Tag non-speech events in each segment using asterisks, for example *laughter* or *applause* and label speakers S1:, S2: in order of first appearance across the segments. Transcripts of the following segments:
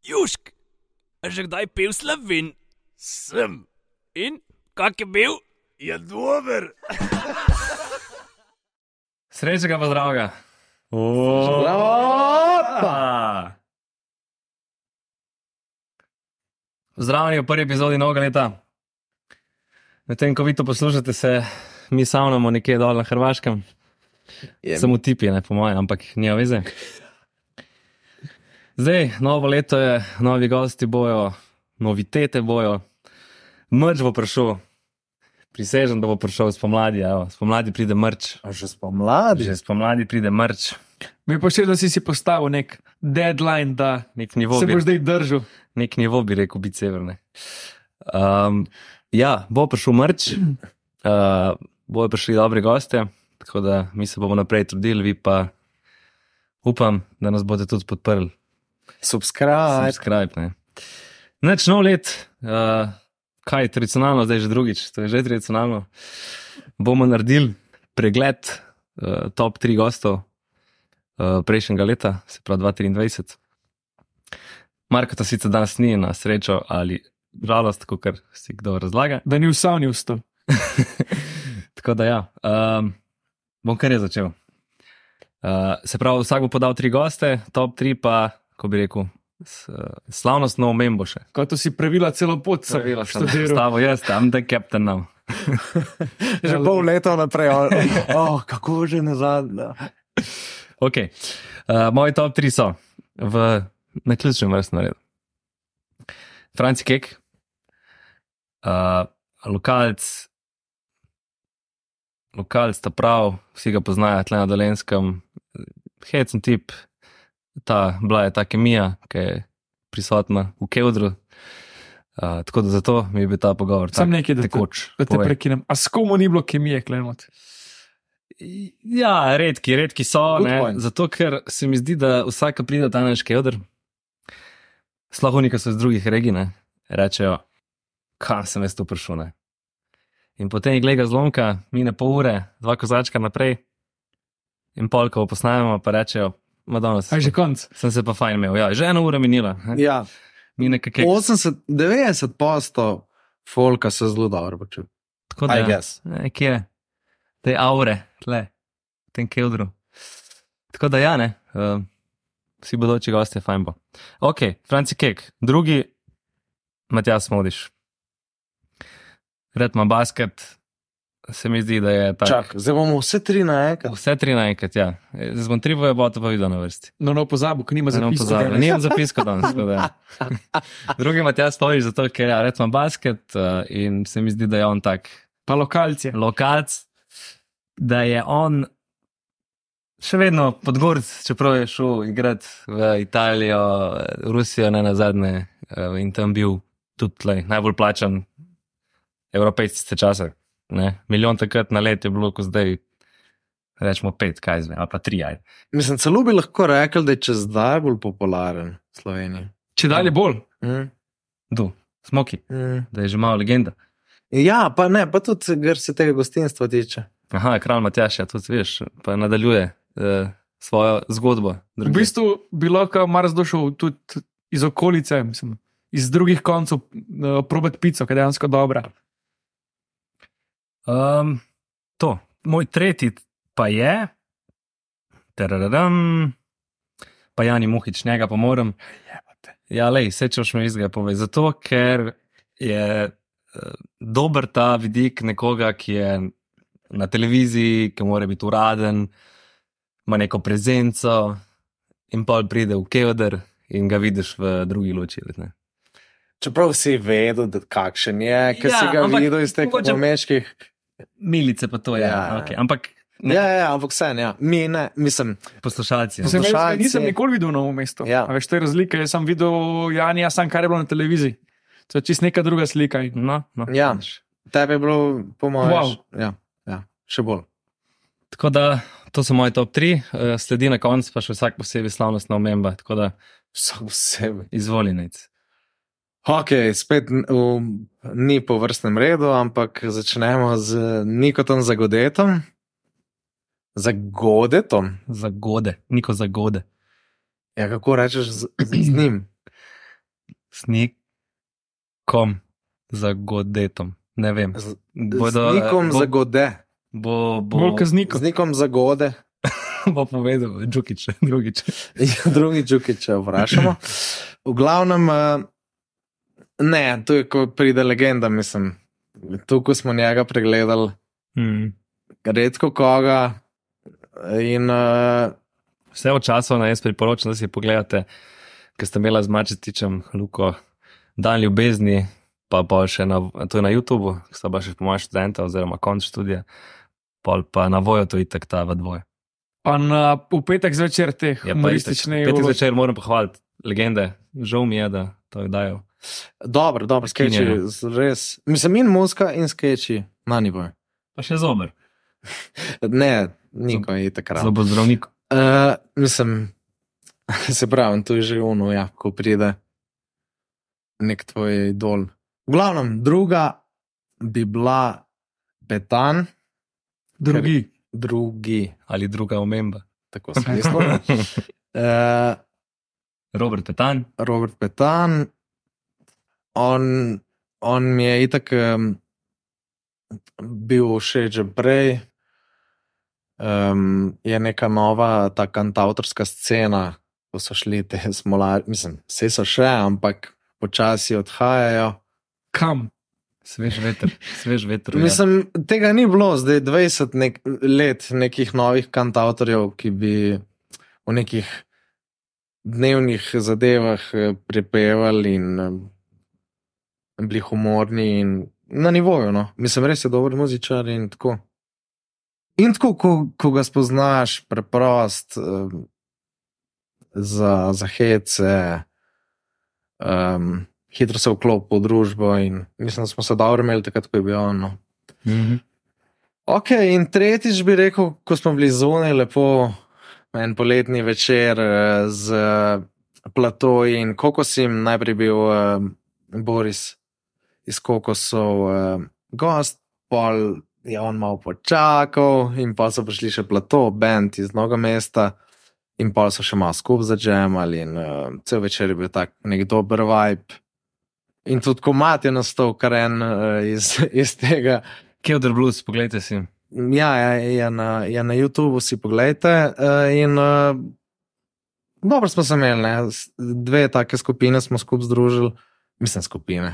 S1: Južk, a že kdaj pil slovin?
S2: Sem,
S1: In kak je bil?
S2: je dober.
S3: Srečnega pa zdravega. Opa! Zdravljeni v prvi epizodi novega leta. Medtem ko vi to poslušate, se mi savnamo nekje dol na Hrvaškem.
S4: Je.
S3: Samo tipi, ne po mojem, ampak nima veze. Zdaj, novo leto je, novi gosti bojo, novitete bojo. Mrč bo prišel, prisežem, da bo prišel spomladi. Evo. Spomladi pride mrč.
S4: A Že spomladi.
S3: Že spomladi pride mrč,
S5: Mi je pa všeč, da si si postavil nek deadline, da
S3: nek nivo,
S5: se
S3: bi,
S5: boš zdaj držal.
S3: nek nivo bi rekel, biti severne. Um, ja, bo prišel
S5: *clears throat*
S3: mrč, uh, bojo prišli dobri gosti, tako da mi se bomo naprej trudili, vi pa upam, da nas boste tudi podprli.
S4: Subscribe.
S3: Subscribe. Ne. Neč nov let, uh, kaj je tradicionalno, zdaj že drugič, to je že tradicionalno. Bomo naredili pregled uh, top 3 gostov uh, prejšnjega leta, se pravi 2023. Marko ta sicer danes ni na srečo ali žalost, kot si kdo razlaga.
S5: Da ni v savni vstal.
S3: *laughs* Tako da ja, um, bom kar je začel. Uh, se pravi, vsak bo podal tri goste, top tri pa, ko bi rekel, s, uh, slavnostno omembo še.
S5: Kot to si pravila celo pot, sem študiral.
S3: Stavo jaz, tam da kapten nam.
S5: Ja,
S4: Že pol leta naprej. O, o, kako že nazadnje.
S3: Okay. Uh, moji top tri so v naključnem vrstnem redu. Franci Kek, uh, lokalc, lokalc ta prav, vsi ga poznajo, tle na dolenskem, hecen tip, ta bila je ta kemija, ki je prisotna v Kevdru. Uh, tako da zato mi je bil ta pogovor
S5: Sam
S3: tak-
S5: nekaj, da te-
S3: tekoč.
S5: Da te
S3: Povej.
S5: prekinem. A s komu ni bilo kemije, klenot?
S3: Ja, redki, redki so.
S4: Good
S3: Ne,
S4: point.
S3: zato, ker se mi zdi, da vsaka pride ta naš keder, sploh oni, ki so iz drugih regij, ne, rečejo, kam sem jaz to prišel. Ne. In potem jih gleda zlomka, mine pol ure, dva kozačka naprej, in pol, ko posnamemo, pa rečejo, Madonna,
S5: A
S3: sem,
S5: je že
S3: se-
S5: konc.
S3: sem se pa fajn imel. Ja, že ena ura minila, ne.
S4: Ja,
S3: mine kakšne.
S4: 80, 90 postov folka se zelo dobro počuti.
S3: Tako
S4: I
S3: da,
S4: guess.
S3: nekje, te aure, tle, v tem keldru. Tako da, ja, ne, um, vsi bodoči gosti, fajn bo. Ok, Franci Kek, drugi, Matjas Modiš. Red ima basket, se mi zdi, da je tako.
S4: Čak, zdaj bomo vse tri naenkrat.
S3: Vse tri naenkrat, ja. Zdaj bom tri boje, bo to pa videl na vrsti.
S5: No, no, pozabil, ki nima
S3: Ne bom pozabil.
S5: zapisov.
S3: Nimam zapiska danes. tako
S4: *laughs*
S3: da ja. Drugi Matjas Modiš, zato ker ja, Red ima basket uh, in se mi zdi, da je on tak
S5: Pa lokalci.
S3: lokalc, da je on še vedno podgorc, čeprav je šel igrati v Italijo, Rusijo, ne na zadnje, eh, in tam bil tudi tlej, najbolj plačan evropejci ste časa. Ne? Milijon takrat na let je bilo, ko zdaj rečemo pet, kaj zdaj, ali pa tri. Ajde.
S4: Mislim, celo bi lahko rekel, da je čez zdaj bolj popularen v Sloveniji.
S5: Če dalje bolj.
S4: Mm,
S3: Du, smoki,
S4: mm.
S3: da je že malo legenda.
S4: Ja, pa ne, pa tudi, kar se tega gostinstva tiče.
S3: Aha, kralj Matjaš, ja, tudi veš, pa nadaljuje eh, svojo zgodbo.
S5: V
S3: druge.
S5: bistvu bi lahko Mars došel tudi iz okolice, mislim, iz drugih koncev, eh, probat pico, ki je dejansko dobra.
S3: Um, to, moj tretji pa je, teraram, pa Jani Muhič, njega pa moram. Ja, lej, vse če hočeš mi izga povedati. Zato, ker je eh, dober ta vidik nekoga, ki je na televiziji, ki mora biti uraden, ima neko prezenco, in pa pride v Kevdr in ga vidiš v drugi luči. Ne?
S4: Čeprav si vedel, da kakšen je, ker
S3: Ja,
S4: ja, si ga
S3: ampak
S4: videl iz teh
S3: mogoče-
S4: pomeških.
S3: Milice pa to je. Ja.
S4: Ja.
S3: Okay. Ampak ne,
S4: Ja, ja, ja, ampak vse, ja. mi ne, mislim,
S3: poslušalci. ne.
S5: Sem jaz ga
S4: Poslušalci.
S5: nisem nikoli videl na novem mestu.
S4: Ja.
S5: A Veš, to je razlika. Jaz sem videl Janija, sam kar je bilo na televiziji. To je čist neka druga slika. In
S3: No, no,
S4: Ja.
S3: vidiš.
S4: tebi je bilo, po mojem,
S5: Wow.
S4: ja, ja, še bolj.
S3: Tako da, to so moji top tri, eh, sledi na koncu pa še vsak posebej slavnostna omemba, tako da
S4: Vsak posebej.
S3: izvoljenec.
S4: Ok, spet n- v, ni po vrstnem redu, ampak začnemo z Nikotom Zagodetom. Zagodetom.
S3: Zagode, niko zagode. *clears throat*
S4: Ja, kako rečeš z, z, z njim?
S3: snikom za godetom. Ne vem.
S4: Z,
S3: Bodo, eh,
S4: z nikom
S3: bo-
S4: zagode.
S3: Bo, bo,
S5: Bolj
S4: Z
S5: kaznikom.
S4: nikom zagode. *laughs*
S3: bo povedal, Džukič, *laughs* drugič.
S4: Ja, drugi Džukiča vprašamo. V glavnem, eh, ne, to je, ko pride legenda, mislim. Tu, ko smo njega pregledali,
S3: Mm.
S4: redko koga. In uh,
S3: Vse od časa naj jaz priporočam, da si pogledate, ker ste imeli z Mačetičem, Luko, dan ljubezni, pa pa še na, to je na YouTubu, ki sta pa še pomoč študenta oziroma konc študija, pol pa na vojo to itek ta v dvoje.
S5: Pa na v petek zvečer teh
S3: Ja, pa itak,
S5: humorističnih.
S3: Petek zvečer moram pohvaliti legende, žal mi je, da to dajo.
S4: dobro, dobro skeči,
S3: Prekinjeno.
S4: res. Mislim, in muska, in skeči, na nivo.
S3: Pa še zomer.
S4: Ne, niko je takrat.
S3: Zelo bo zdravnik.
S4: Uh, mislim, *laughs* se pravi, to je že ono, ja, ko pride nek tvoj idol. V glavnem, druga bi bila Betan,
S5: Drugi.
S4: drugi,
S3: Ali druga omemba.
S4: tako sem mislil. Uh,
S3: Robert Petan,
S4: Robert Petan, on, on mi je itak um, bil všeč že prej. Um, je neka nova ta kantautorska scena, ko so šli te smolarje, mislim, vse so še, ampak počasi odhajajo.
S5: Kam?
S3: svež veter, svež veter. ja.
S4: Mislim, tega ni bilo, zdaj je 20 nek let nekih novih kantautorjev, ki bi v nekih dnevnih zadevah eh, prepevali in eh, bili humorni in na nivoju. No. Mislim, res je dober muzičar in tako. In tako, ko, ko ga spoznaš, preprost um, za, za hece, um, hitro se vklopi v družbo. In mislim, da smo se dobro imeli takrat, ko je no. bilo ono.
S3: Mhm.
S4: Ok, in tretjič bi rekel, ko smo bili zunaj, lepo en poletni večer eh, z eh, platoji in kokosim, najprej bil eh, Boris iz kokosov eh, gost, pol je on malo počakal, in pa so prišli še plato, bend iz mnogo mesta. In pa so še malo skupaj zažemali, in uh, cel večer je bil tak nek dober vibe. In tudi komat je nastal, kar en uh, iz, *laughs* iz tega
S3: Kevdr Blues, poglejte si.
S4: Ja, ja, ja, na, ja na YouTubu si pogledajte. Uh, in uh, dobro smo se imeli, ne? S- dve take skupine smo skupaj združili, mislim, skupine,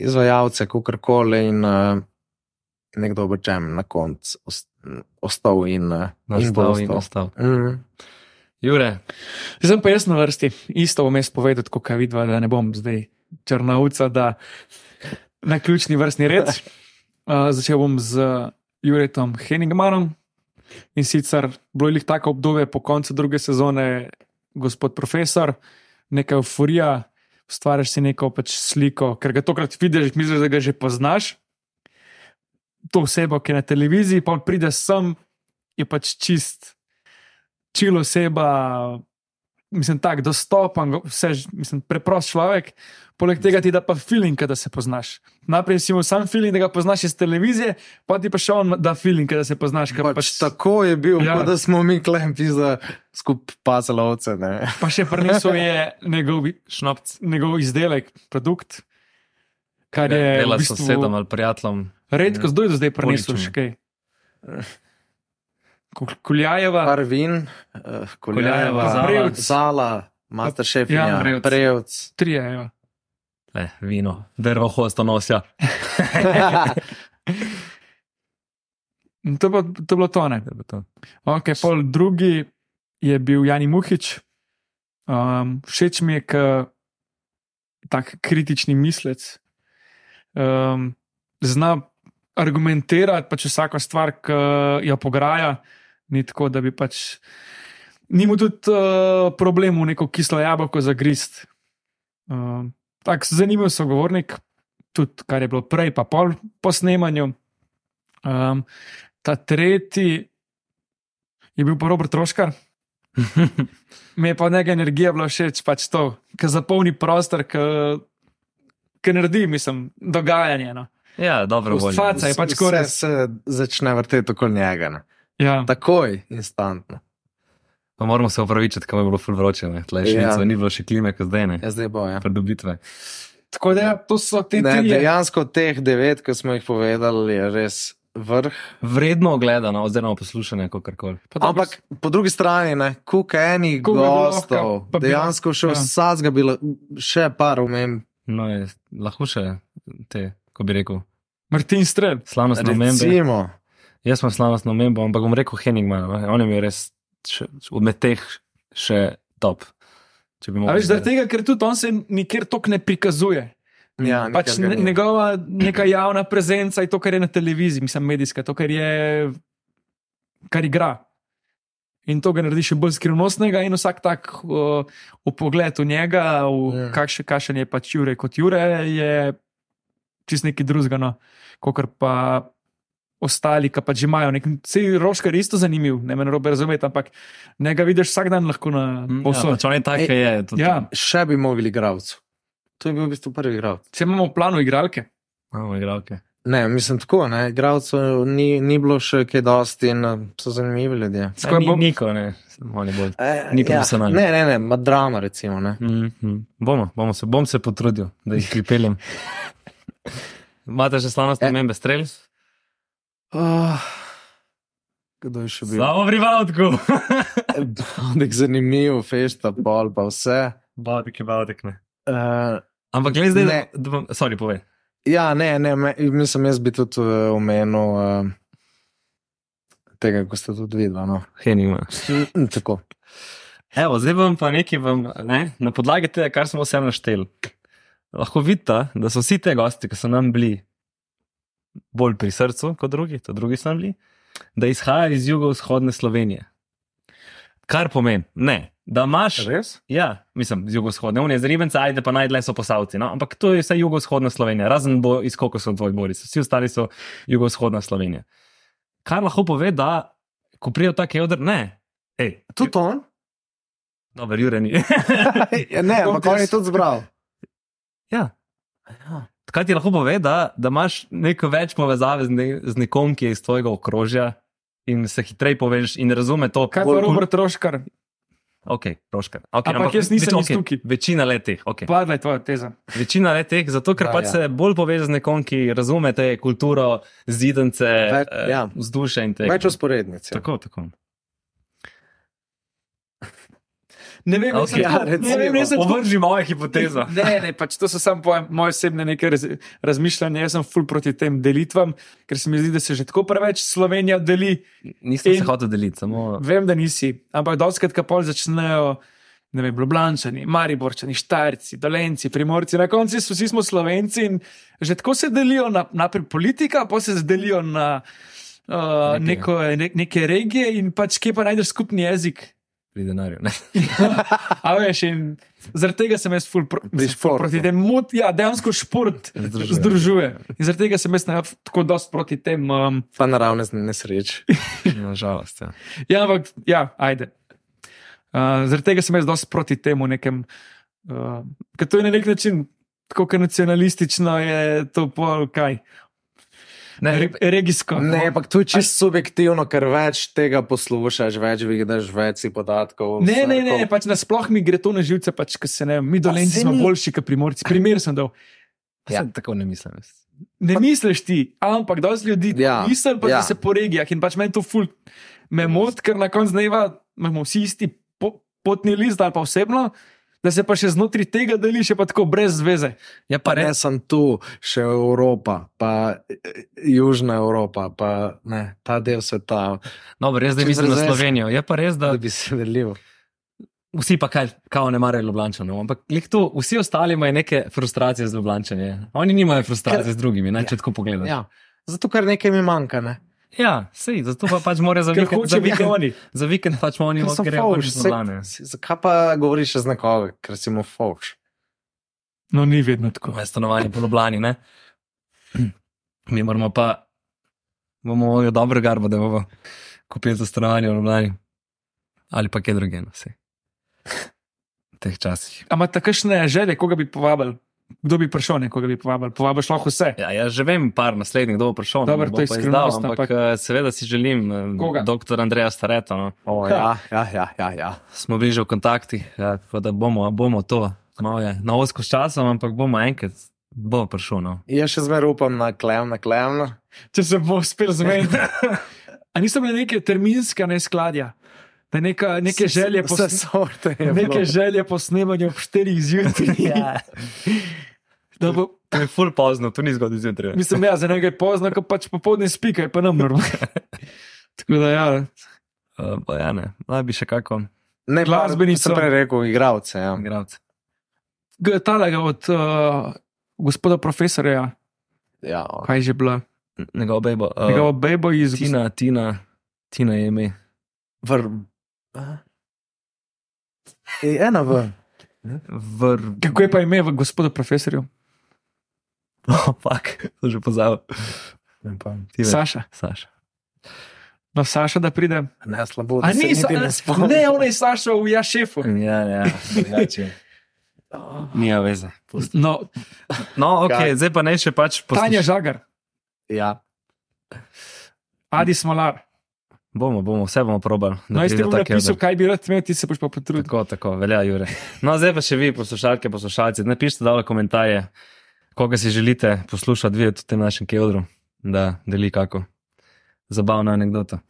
S4: izvajalce, kako koli. In uh, nekdo bo čem na koncu os- ostal in, uh, in bo
S3: Nastal in
S4: ostal.
S3: nastal.
S4: Mm.
S3: Jure,
S5: Zdaj pa jaz na vrsti. Isto vmes povedati, kot kaj vidva, da ne bom zdaj črnavca, da na ključni vrstni
S3: *laughs*
S5: red. Uh, začel bom z Juretom Henningmanom in sicer bilo je glih tako obdobje po koncu druge sezone, gospod profesor, neka euforija, ustvariš si neko pač sliko, ker ga tokrat vidiš, misliš, da ga že poznaš. To osebo, ki je na televiziji, pa pride sem, je pač čist, čil oseba, mislim, tako dostopen, go- vse, ž- mislim, preprost človek. Poleg tega ti da pa feeling, da se poznaš. Najprej si imel sam feeling, da ga poznaš iz televizije, pa ti pa še on da feeling, da se poznaš. ker
S4: Pač, pač tako je bil,
S5: Ja.
S4: ja. da smo mi klempi za skupaj pazalovce. ne.
S5: Pa še prinesel je njegov,
S3: šnopc.
S5: njegov izdelek, produkt, kar Ja, je
S3: Dela
S5: v
S3: s
S5: bistvu
S3: sosedom ali prijateljem.
S5: redko zdaj do zdaj prinesel
S3: Količem.
S5: še kaj. Kul- Kuljajeva,
S4: Arvin, uh,
S3: Koljajeva,
S4: Koljajeva,
S5: Zala.
S4: Zala, Masterchef,
S5: Ja,
S4: ja,
S3: Prevc.
S4: Prevc.
S5: *laughs* trije. Ja.
S3: Le, vino, drvo hosto nosja.
S5: In To, pa, to je bilo to. Ne? Okay, pol drugi je bil Jani Muhič. Um, všeč mi je, ker je tako kritični mislec. Um, zna argumentirati pač vsako stvar, ki jo pograja. Ni tako, da bi pač. Ni mu tudi uh, problem v neko kislo jabolko zagrist. Um, tako zanimiv sogovornik, tudi kar je bilo prej, pa pol po snemanju. Um, ta tretji je bil pa Robert Troškar. *laughs* Mi je pa njega energija bila všeč, pač to, ki zapolni prostor, ki naredi, mislim, dogajanje. No.
S3: Ja, dobro, bolj.
S5: Faca je pač
S4: Vse
S5: korec.
S4: se začne vrteti okoli njega. Ne?
S5: Ja.
S4: Takoj, instantno.
S3: Pa moramo se opravičiti, kam je bilo ful vroče. ne. Tle še
S4: Ja.
S3: ja. ni bilo še klime, kot zdaj ne.
S4: Ja, zdaj bo. Ja.
S3: Predobitve.
S5: Tako da ja, to so te
S4: Ne, ja.
S5: tri.
S4: dejansko teh devet, ki smo jih povedali, je res vrh.
S3: Vredno gledano, oziroma poslušanje, kako koli.
S4: Ampak po drugi strani, koliko enih
S5: Koliko je bilo
S4: gostov,
S5: lahko, pa bi-
S4: dejansko še
S5: ja.
S4: vsadzga bilo, še par umem.
S3: No, je, lahko še te, ko bi rekel,
S5: Martin Strel.
S3: slavnostne omembe.
S4: Recimo,
S3: Jaz sem slavnostno omembo, ampak bom rekel Henigman, ne. on je mi res še, med teh še top. Če bi
S5: A
S3: mogel
S5: veš, zaradi
S3: izbrati.
S5: tega, ker tudi on se nikjer tok ne prikazuje.
S4: ja,
S5: Pač
S4: nekaj
S5: ne,
S4: ga ni.
S5: njegova neka javna prezenca je to, kar je na televiziji, mislim, medijska, to, kar je, kar igra. In to ga naredi še bolj skrivnostnega, in vsak tak uh, pogled v njega, v
S4: Ja.
S5: kakšen, kakšen je pač Jure kot Jure, je čist neki drugega, no, kot pa ostali, ki pač imajo. Nek, sej Roškar je isto zanimiv, ne me narobe razumeti, ampak ne ga vidiš vsak dan lahko na
S3: Mm, Ja,
S5: posod.
S3: pač on je tak,
S4: Ej,
S3: ki je. to-
S5: Ja,
S4: Še bi mogli igravcu. To je bil v bistvu prvi igralec.
S5: če imamo v planu igralke.
S3: Imamo igralke.
S4: Ne, mislim tako, ne, igralcev ni, ni bilo še kaj dosti in eh, so zanimivi ljudje.
S5: Skoraj
S3: Ni,
S5: bom-
S3: Niko, ne, on je bolj.
S4: Eh,
S3: Ni profesionalen.
S4: Ja. Ne, ne, ne, ma drama, recimo. Ne.
S3: Mhm. Bomo, bomo se, bom se potrudil, da jih *laughs* pripeljem. Imate že slavnostne
S4: E.
S3: membe strelc?
S4: Oh, kdo je še bil? *laughs*
S3: Slavo pri Vodku! *laughs*
S4: Nek zanimiv, fešta, pol, pa vse.
S3: Vodek je Vodek, ne.
S4: Uh,
S3: Ampak gled zdaj,
S4: Ne.
S3: da- da bom, sorry, povej.
S4: ja, ne, ne, me, mislim, jaz bi tudi eh, omenil uh, tega, ko ste tudi videli. No.
S3: Henigman.
S4: Mm, Tako.
S3: Evo, zdaj vam pa nekaj, vam, ne, na podlagi tega, kar smo vsem našteli. Lahko vidite, da so vsi te gosti, ki so nam bili bolj pri srcu kot drugi, to drugi so nam bili, da izhajajo iz jugovzhodne Slovenije. Kar pomeni, ne, da imaš
S4: Res?
S3: Ja, mislim, z jugovzhodne unije, z Ribenca, ajde pa najdlje so posavci. No? Ampak to je vse jugovzhodna Slovenija, razen bo iz Kokosov tvoj Boris, vsi ostali so jugovzhodna Slovenija. Kar lahko pove, da ko prijo take odr, ne. Ej,
S4: Tudi on?
S3: Dober, Jureni.
S4: Ja, ne, ampak on je tudi zbral.
S3: *laughs* ja. Kaj ti lahko pove, da, da imaš neko več povezave z, ne, z nekom, ki je iz tvojega okrožja in se hitreje poveš in razume to,
S5: Kaj pa
S3: Bolj-
S5: Robert Roškar,
S3: Ok, roškar. Okay,
S5: Ampak jaz nisem iz
S3: okej,
S5: tukaj.
S3: Večina letih, ok.
S5: padla je tvoja teza.
S3: Večina le teh, zato ker
S4: Da,
S3: da, pač
S4: ja.
S3: ja. se bolj poveže z nekom, ki razume te kulturo, zidence,
S4: Več-
S3: eh,
S4: ja.
S3: vzdušje in te.
S4: Več usporednic. ja.
S3: Tako, tako.
S5: Ne vem,
S3: Ok,
S5: jaz sem
S3: ja,
S5: tako- ne vem, jaz sem tako-
S3: Ovrži mojo
S5: *laughs*
S3: hipotezo.
S5: Ne, ne, pač to so samo poje- moje osebne neke raz, razmišljanje. Jaz sem ful proti tem delitvam, ker se mi zdi, da se že tako preveč Slovenija deli.
S3: Nisem
S5: In-
S3: se hotel deliti, samo
S5: Vem, da nisi, ampak doskrat kapol začnejo. Ne vem, Ljubljančani, Mariborčani, Štarci, Dolenci, Primorci, na koncu so vsi smo Slovenci in že tako se delijo na, naprej politika, pa se delijo na uh,
S3: Nekaj.
S5: neko, ne, neke regije in pač kje pa najdeš skupni jezik.
S3: pri denarju. *laughs* ne.
S5: A veš, in zaradi tega sem jaz ful, pro,
S4: Pri
S5: mislim, ful
S4: športu.
S5: proti tem, mot, ja, dejansko šport združuje.
S3: Združuje.
S5: In zaradi tega sem jaz na- tako dosti proti tem. Um,
S4: Pa naravne nesreče.
S3: Nažalost. Ja.
S5: ja, ampak, ja, ajde. Uh, zaradi tega sem jaz dosti proti temu nekem, uh, ker to je na nek način, tako kot nacionalistično je to pol kaj,
S3: Ne,
S5: re, regijsko. no.
S4: Ne, ampak to je čisto subjektivno, ker več tega poslušaš, več vidiš, več si podatkov.
S5: Ne, ne, ne,
S4: vsakov.
S5: pač nasploh mi gre to na živce, pač, ker se ne, mi dolenci
S4: saj
S5: smo
S4: ni-
S5: boljši, kot primorci. Primer sem dal.
S3: ja. Tako ne mislim. jaz.
S5: Ne misliš ti, ampak dosti ljudi ja,
S4: Ja,
S5: misli, pač, ja. da
S4: ja.
S5: se po regijah in pač meni to ful me moti, ker na koncu dneva imamo vsi isti po, potni list ali pa osebno, da se pa še znotraj tega deli, še pa tako brez veze.
S3: Ja, pa
S4: Ne,
S3: res.
S4: sem tu, še Evropa, pa eh, Južna Evropa, pa ne, ta del sveta,
S3: No, res, da
S4: Če
S3: mislim na
S4: izrazeš-
S3: Slovenijo. Je pa res, da
S4: da bi se delil.
S3: vsi pa kaj, kao ne marajo Ljubljančanov. Ampak glih to, vsi ostali imajo neke frustracije z Ljubljančani. ja. Oni nimajo frustracije z drugimi, ne, če tako pogledaš.
S4: Ja. Zato, ker nekaj mi manjka. Ne?
S3: Ja, sej, zato pa pač mora za
S5: Ker
S3: vikend, za
S5: hoče biti
S3: vikend,
S5: oni.
S3: za vikend pač mora oni
S4: Ker so
S3: odkriti
S4: fauš.
S3: pač
S4: saj-
S3: zlane.
S4: si- Zakaj pa govoriš še znakove, ker si mu fauš?
S5: No, ni vedno tako.
S3: Moje stanovanje po Ljubljani, ne? Mi moramo pa, bomo mogli dobro garbo, da bomo kupili za stanovanje v Ljubljani. Ali pa kje drugje, no, sej. V teh časih.
S5: Ampak takšne želje, koga bi povabil, kdo bi prišel, nekoga bi povabil, povabiš lahko vse.
S3: Ja, jaz že vem, par naslednjih, kdo bo prišel. no,
S5: Dobro,
S3: ne bom
S5: to je
S3: pa
S5: skrivnost,
S3: ampak,
S5: ampak-
S3: eh, seveda si želim, eh,
S5: Koga?
S3: doktor Andreja Stareta. No.
S4: O, ja, ja, ja, ja, ja.
S3: Smo bili že v kontaktih, ja, tako da bomo, bomo to. Malo je na osko s časom, ampak bomo enkrat, bo prišel. No.
S4: Jaz še zmeraj upam na klem, na klem.
S5: Če se bo uspel zmeniti. A niso bile neke terminske neskladja, da neka, neke, želje po,
S4: vse sorte. je bilo. Ja.
S5: neke želje po snemanju ob 4
S4: *laughs*
S5: zjutraj. Da bo-
S3: To je ful pozno, to ni zgodaj zjutraj.
S5: Mislim, ja, za nekaj je pozno, ko pač popoldne spi, kaj pa nam
S4: *laughs*
S5: mrmo. Tako da ja,
S3: Uh, pa ja, ne, naj bi še kako
S4: Ne,
S5: Glasbenico.
S4: Sem prej rekel, igralce. Ja.
S3: igralec.
S5: G- talega od uh, gospoda profesorja,
S4: Ja, ok.
S5: kaj je že bila,
S3: Njegov bejbo. Uh,
S5: njegova bebo iz
S3: Tina, Tina, Tina je ime.
S4: Vr... Je ena v.
S3: Vr...
S5: Kako je pa ime v gospodu profesorju?
S3: Opak, No, to že pozabil. Ti veš,
S5: Saša.
S3: Saša.
S5: No, Saša, da pride.
S4: Ne, slabo.
S5: A
S4: da se
S5: ni,
S4: niti
S5: sa,
S4: ne
S5: ne,
S4: spomnim.
S5: ne, ona je Saša v ja šefu.
S3: Ja, ja, drugače. Nija veze.
S5: No,
S3: No, ok,
S4: Kaj?
S3: zdaj pa ne še pač poslušaj.
S5: Tanja Žagar,
S4: Ja.
S5: Adi Smolar.
S3: Bomo, bomo, vse bomo probali. da
S5: No, jaz ti
S3: pride
S5: bom
S3: taki
S5: napisal,
S3: odr.
S5: kaj bi rad imel, ti se boš pa potrudil.
S3: Tako, tako, velja, Jure. No, zdaj pa še vi, poslušalke, poslušalci, napišite dole komentarje, koga si želite poslušati, videti v tem našem keodru, da deli kako zabavno anegdoto.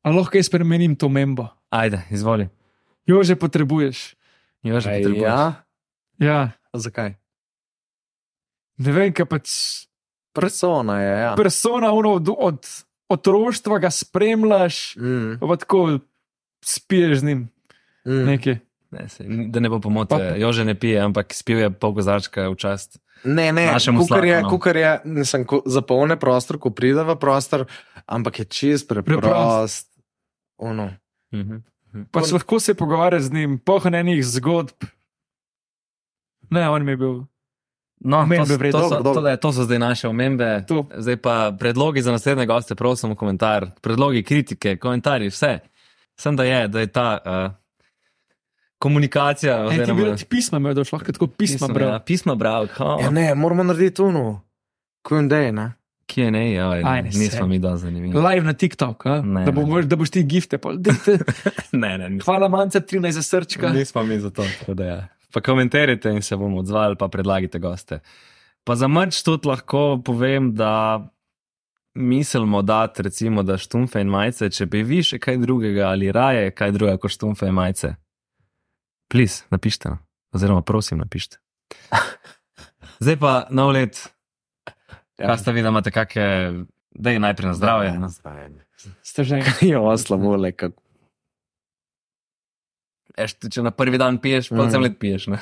S5: A lahko jaz spremenim to membo.
S3: Ajde, izvoli.
S5: Jo že potrebuješ.
S3: Jo, že
S4: Ej,
S3: potrebuješ.
S4: ja.
S5: Ja,
S4: Zakaj?
S5: ne vem, kaj pač.
S4: Persona je. Ja.
S5: Persona ono od, od otroštva ga spremljaš,
S4: Mm,
S5: pa tako spiješ z njim
S4: mm.
S5: nekaj.
S3: Ne, se, da ne bo
S5: Pa-
S3: pomote, Jože ne pije, ampak spil je pol gozarčka v čast.
S4: Ne, ne,
S3: Našemu no.
S4: kukar je,
S3: slakanu.
S4: kukar je nisem, ko, zapolne prostor, ko pride v prostor, ampak je čist preprost.
S5: Preprost.
S4: Ono.
S3: Mhm.
S5: Pač lahko se pogovarjaš z njim, pohranjenih zgodb. Ne, on mi je bil.
S3: No, to,
S5: Omembe
S3: so-
S5: vredno.
S3: to, so,
S4: Dobro, dobro.
S3: tole- to so zdaj naše omembe.
S5: To.
S3: Zdaj pa predlogi za naslednje goste, prosim, v komentar. Predlogi, kritike, komentarji, vse. Sem da je, da je ta uh, komunikacija.
S5: En ti bi
S3: oziroma-
S5: rad pisma, imel, da šlo tako pisma,
S3: Pismo, Ja,
S5: bral.
S3: pisma bral, kao.
S4: Ja, ne, moramo narediti uno. Kujundej, ne?
S3: Kje ne, ja,
S5: Aj, ne,
S3: nismo
S5: sej.
S3: mi dosti zanimivi.
S5: Live na TikTok, a?
S3: Ne,
S5: da, bo,
S3: ne.
S5: mož- da boš ti gifte.
S3: *laughs*
S5: pol. Dajte,
S3: Ne, ne, nismo,
S5: Hvala, manjka 13 za srčka.
S3: nismo mi za to. tako da Ja. Pa komentirajte in se bomo odzvali, pa predlagite goste. Pa za mrč tudi lahko povem, da mislimo, da recimo, da štumfe in majice, če bi vi še kaj drugega ali raje kaj drugega kot štumfe in majice. Plis, napišite, no. oziroma prosim,
S5: *laughs*
S3: napišite. Zdaj pa nov let, ja. kaj ste vi, da imate kakšne, da je najprej na zdravje.
S4: Ja,
S3: no.
S4: zdravje.
S5: Ste že enkrat.
S4: *laughs* Ja, ovo slabo le kako.
S3: Eš, če na prvi dan piješ, pa
S4: Mm.
S3: cel let piješ. Ne?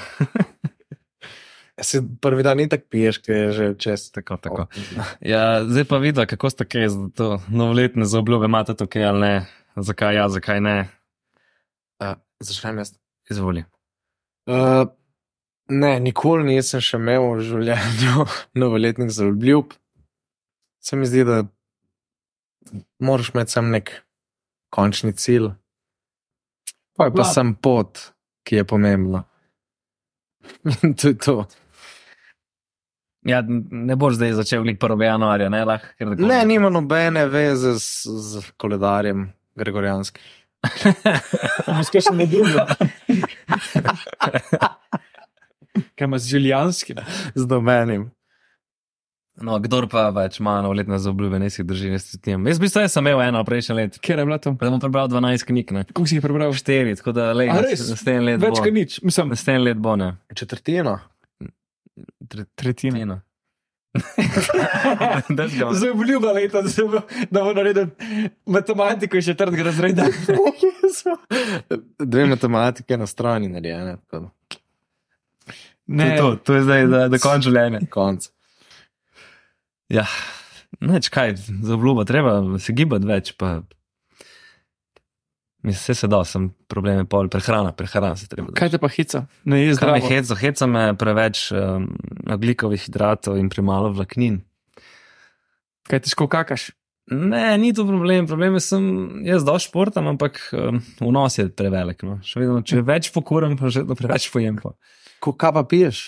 S4: Se Ja, prvi dan ni tako piješ, ker je že čez.
S3: Tako, tako. Ja, zdaj pa vidiš, kako ste kaj za to novoletne zaobljube, imate to kaj ali ne, zakaj ja, zakaj ne.
S4: Uh, Začnem jaz.
S3: Izvoli.
S4: Uh, ne, nikoli nisem še imel v življenju *laughs* novoletnih zaobljub. Se mi zdi, da moraš imeti sem nek končni cilj. Pa je pa
S5: Plan.
S4: sem pot, ki je pomembna. *laughs* In to je to.
S3: Ja, n- ne boš zdaj začel nek 1. januarja, ne lahko. kar tako-
S4: Ne, nima nobene veze s, z koledarjem gregorijanskim.
S5: Moskva še ne druga. Kaj ima z Žiljanskim?
S4: Z domenim.
S3: No, kdor pa več ima novoletne zaobljube, ne si jih drži, ne si tim. Jaz bi se sem imel eno prejšnje leto,
S5: Kjer je bilo to?
S3: pa sem prebral 12 knjig, ne
S5: Kako si jih prebral?
S3: 4, tako da le,
S5: A res?
S3: naslednji let
S5: Več
S3: bo.
S5: kot nič, mislim,
S3: Naslednji let bo ne.
S4: Četrtina.
S3: Tre-
S5: tretjina.
S3: *laughs* Eno. That's gone.
S5: Zaobljuba leta, da se bo- da bo naredil matematiko iz četrtega razreda.
S4: Dve matematike na strani narejene, tako
S3: To
S4: da
S3: je
S5: *laughs* Ne,
S3: to, to je zdaj, da, da končam življenje.
S4: konc.
S3: Ja, neč kaj, za obljubo treba se gibati več. Pa... Mislim, vse se da, sem probleme pol, prehrana, prehrana se treba.
S5: kaj te pa hica? Ne, jaz
S3: Kaj me
S5: zdravim.
S3: heca? Heca me preveč um, oglikovih hidratov in premalo vlaknin.
S5: Kaj težko kakaš?
S3: Ne, ni to problem. Problem je, sem jaz dož športam, ampak um, vnos je prevelik. No. Še vedno, če več pokuram, pa že vedno preveč pojem. Pa.
S4: Ko kaj pa piješ?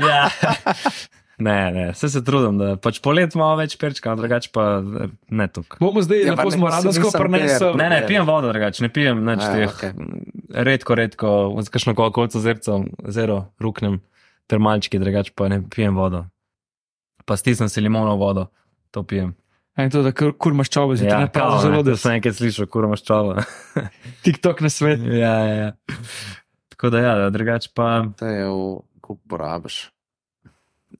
S3: ja. Ne, ne, vse se trudim, da pač polet malo več perčka, drugače pa ne tukaj.
S5: Bomo zdaj
S4: Ja,
S5: ja,
S4: pa
S5: lepo
S4: ne,
S5: zmaradansko
S4: nisem
S5: prenesli.
S4: per.
S3: Ne, ne, pijem vodo, drugače ne pijem nič
S4: A,
S3: teh.
S4: okej.
S3: Redko, redko, z kakšno kolco zrca, zero ruknem, termalčki, drugače pa ne pijem vodo. Pa stisnem si limono vodo, to pijem.
S5: Ne, to, da kur- kurmaš čobe, zdaj ja, ne
S3: kao,
S5: pa zelo
S3: ne, to
S5: da
S3: sem
S5: sem.
S3: enkrat slišal, kurma ščava.
S5: TikTok na svet.
S3: ja, ja, ja. Tako da ja, drugače pa.
S4: To je v kup porabiš.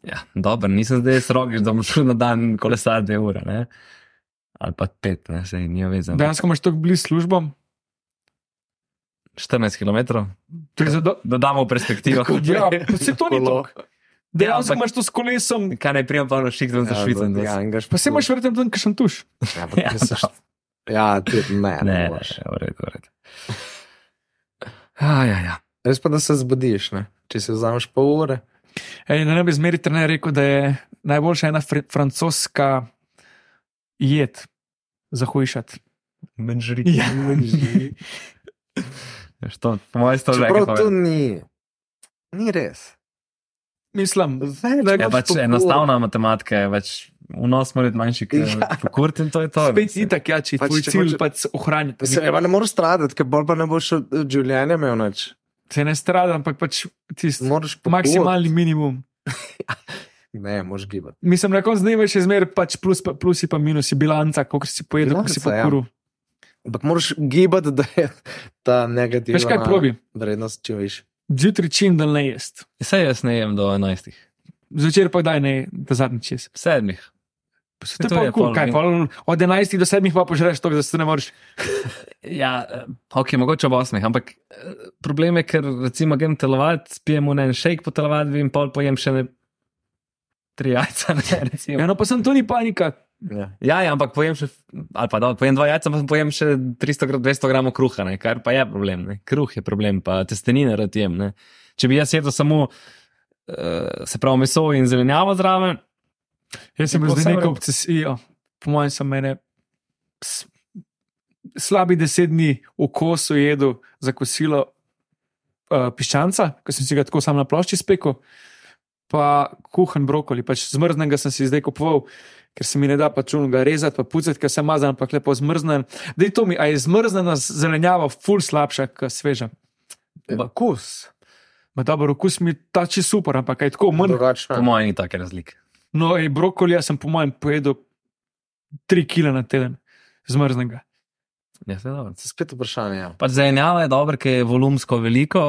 S3: Ja, dobro, nisem zdaj srogiš, da bom šel na dan kolesar dve ure, ne? ali pa pet, ne, se ni vezano.
S5: Dejansko imaš tako blizu službam.
S3: 14 km,
S5: To je za do-
S3: da damo v perspektivo.
S4: *laughs*
S5: Ja, pa saj to ni
S4: Kolo.
S5: Dejansko
S3: ampak-
S5: imaš to s kolesom.
S3: Kaj naj prijem, pa no šikdom za Švico.
S4: Ja, in gaš
S5: Pa se imaš verjetno tam, ki še tuš. *laughs*
S4: Ja, ampak ti se št- ja, ti ne, ne,
S3: Ne, ne,
S4: moreš.
S3: v redu, v redu. Ja, ja, ja.
S4: Res pa, da se zbudiš, ne? če si vzameš pol ure.
S5: Ej, ne bi zmeri trener rekel, da je najboljša ena fr francoska jed za hujšati.
S3: Menžri.
S5: Ja.
S3: Što, po mojem sto že.
S4: Čeprav to ni, ni res.
S5: Mislim,
S4: Več
S5: Ja,
S3: Je
S4: imaš
S3: pač
S4: po
S3: enostavna matematika, je pač vnos mora biti manjši, kot
S4: Ja.
S3: je kurt in to je to.
S5: spet je tako, ja, če je
S4: Pač,
S5: tvoj
S4: če
S5: cilj
S4: hoče-
S5: pač ohraniti.
S4: Se ja, ne, ne moreš stradati, ker bolj pa ne boš od eh, življenja imel nič.
S5: Se ne strada, ampak pač tisti
S4: Moraš pobud.
S5: maksimalni minimum.
S4: Ne, moraš gibati.
S5: Mislim, na koncu dneva je še zmeraj pač plus, pa- plusi pa minusi, bilanca, koliko si pojedel, koliko si
S4: Bilanca, ja.
S5: pokuril.
S4: Ampak moraš gibati, da je ta negativna
S5: Veš kaj, probi.
S4: vrednost čim višja.
S5: Zjutraj čim dal ne jesti,
S3: Vse jaz ne jem do 11.
S5: zvečer pa daj ne, da zadnji
S4: E,
S5: čez.
S3: Sedmih.
S5: To je
S3: To
S5: pa
S3: je
S5: kul,
S3: pol
S5: kaj
S3: min-
S5: pa od 11 do 7 pa požreš to, da se ne moreš.
S3: Ja, eh, ok, mogoče ob osmih, ampak eh, problem je, ker recimo grem telovati, spijem v en shake po telovadbi in pol pojem še ne tri jajca. *laughs* Ne, recimo.
S5: Ja, no pa sem to ni panika.
S4: Ja.
S3: Ja, ja, ampak pojem še, ali pa da, pojem dva jajca, pa pojem še 300, gra- 200 gramov kruha, ne, kar pa je problem. Ne. Kruh je problem, pa testenine rad jem. Ne. Če bi jaz jedel samo, uh, se pravi, meso in zelenjavo zraven,
S5: Jaz sem
S3: Je
S5: bil zdaj
S3: povsem
S5: neko
S3: v redu.
S5: obsesijo, po mojem, sem mene s- slabi deset dni v kosu jedel za kosilo uh, piščanca, ki sem si ga tako sam na plošči spekel, pa kuhan brokoli, pač zmrznega sem si zdaj kupoval. Ker se mi ne da pač unega rezati, pa pucati, ker sem mazan, ampak lepo zmrznen. Da je to mi, a je zmrznjena zelenjava, ful slabša, kot sveža.
S4: Ja. Bakus.
S5: Ma dobro, okus mi ta čisto super, ampak je tako manj
S3: po
S4: Drugačno.
S3: mojem, ni take razlike.
S5: No, ej, brokolija sem, po mojem, pojedel tri kile na teden, zmrznega.
S3: Ja, saj dobro.
S4: Se spet vprašanje. Ja.
S3: pač zelenjava je dobra, ker je volumsko veliko,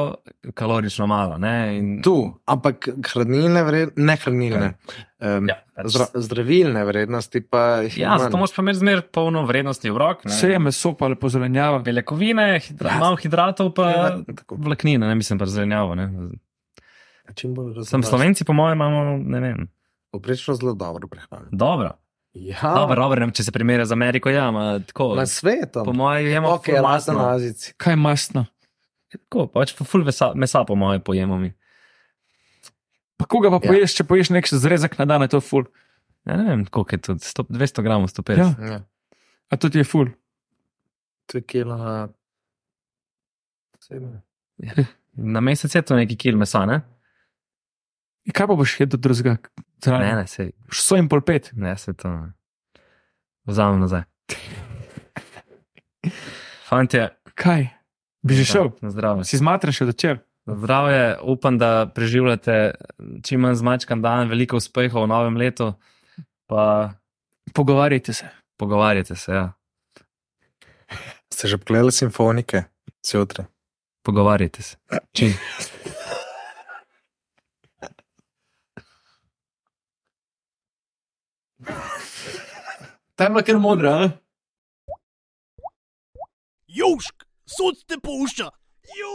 S3: kalorično malo. Ne, in,
S4: Tu, ampak hranilne vrednosti, ne hranilne, um, ja,
S3: ja, pač,
S4: zdra, zdravilne vrednosti pa jih
S3: ja,
S4: je
S3: zato
S4: manj.
S3: moraš pa imeti zmer polno vrednosti v roki.
S5: Vse je meso, pa lepo zelenjava.
S3: Beljakovine, hidra,
S4: Ja.
S3: malo hidratov, pa
S4: Ja, tako.
S3: vlaknine, ne mislim pa zelenjavo. Ne.
S4: Čim bolj
S3: Sem
S4: razumem.
S3: slovenci, po mojem, imamo, ne vem,
S4: Poprečno zelo dobro prehranjen.
S3: dobro.
S4: Ja,
S3: Dobro, dobro, ne vem, če se primerja z Ameriko, ja, ima tako.
S4: na
S3: Po
S4: svetu.
S3: mojem, jemo
S4: Ok,
S3: okay,
S4: razen na
S3: masno.
S4: Azici.
S5: Kaj je masno?
S3: Tako, pač pa ful mesa, mesa po mojem pojemo mi.
S5: Pa koga pa
S4: Ja.
S5: poješ, če poješ nek zrezek na dan, je to ful.
S3: Ja, ne vem, koliko je to, 100, 200 gramov, 150.
S5: Ja.
S3: Ja.
S4: Ja.
S5: A to ti je ful.
S4: To je kilo na. sedem.
S3: Na mesec je to neki kil mesa, ne?
S5: In kaj pa boš jedel drugega?
S3: Ne, ne, sej,
S5: So jim pol pet.
S3: ne, se to. ne. Vzamem nazaj. Fantje,
S5: Kaj? Bi že šel?
S3: na zdravje.
S5: Si zmatran še večer?
S3: Na zdravje, upam, da preživljate čim manj zmačkan dan, veliko uspehov v novem letu, pa
S5: Pogovarjajte se.
S3: pogovarjate se, ja.
S4: Ste že pogledali simfonike zjutraj?
S3: Pogovarjajte se. Čim.
S5: Ta je bila kar modra, a?
S1: Južk, sunce pušča. Južk.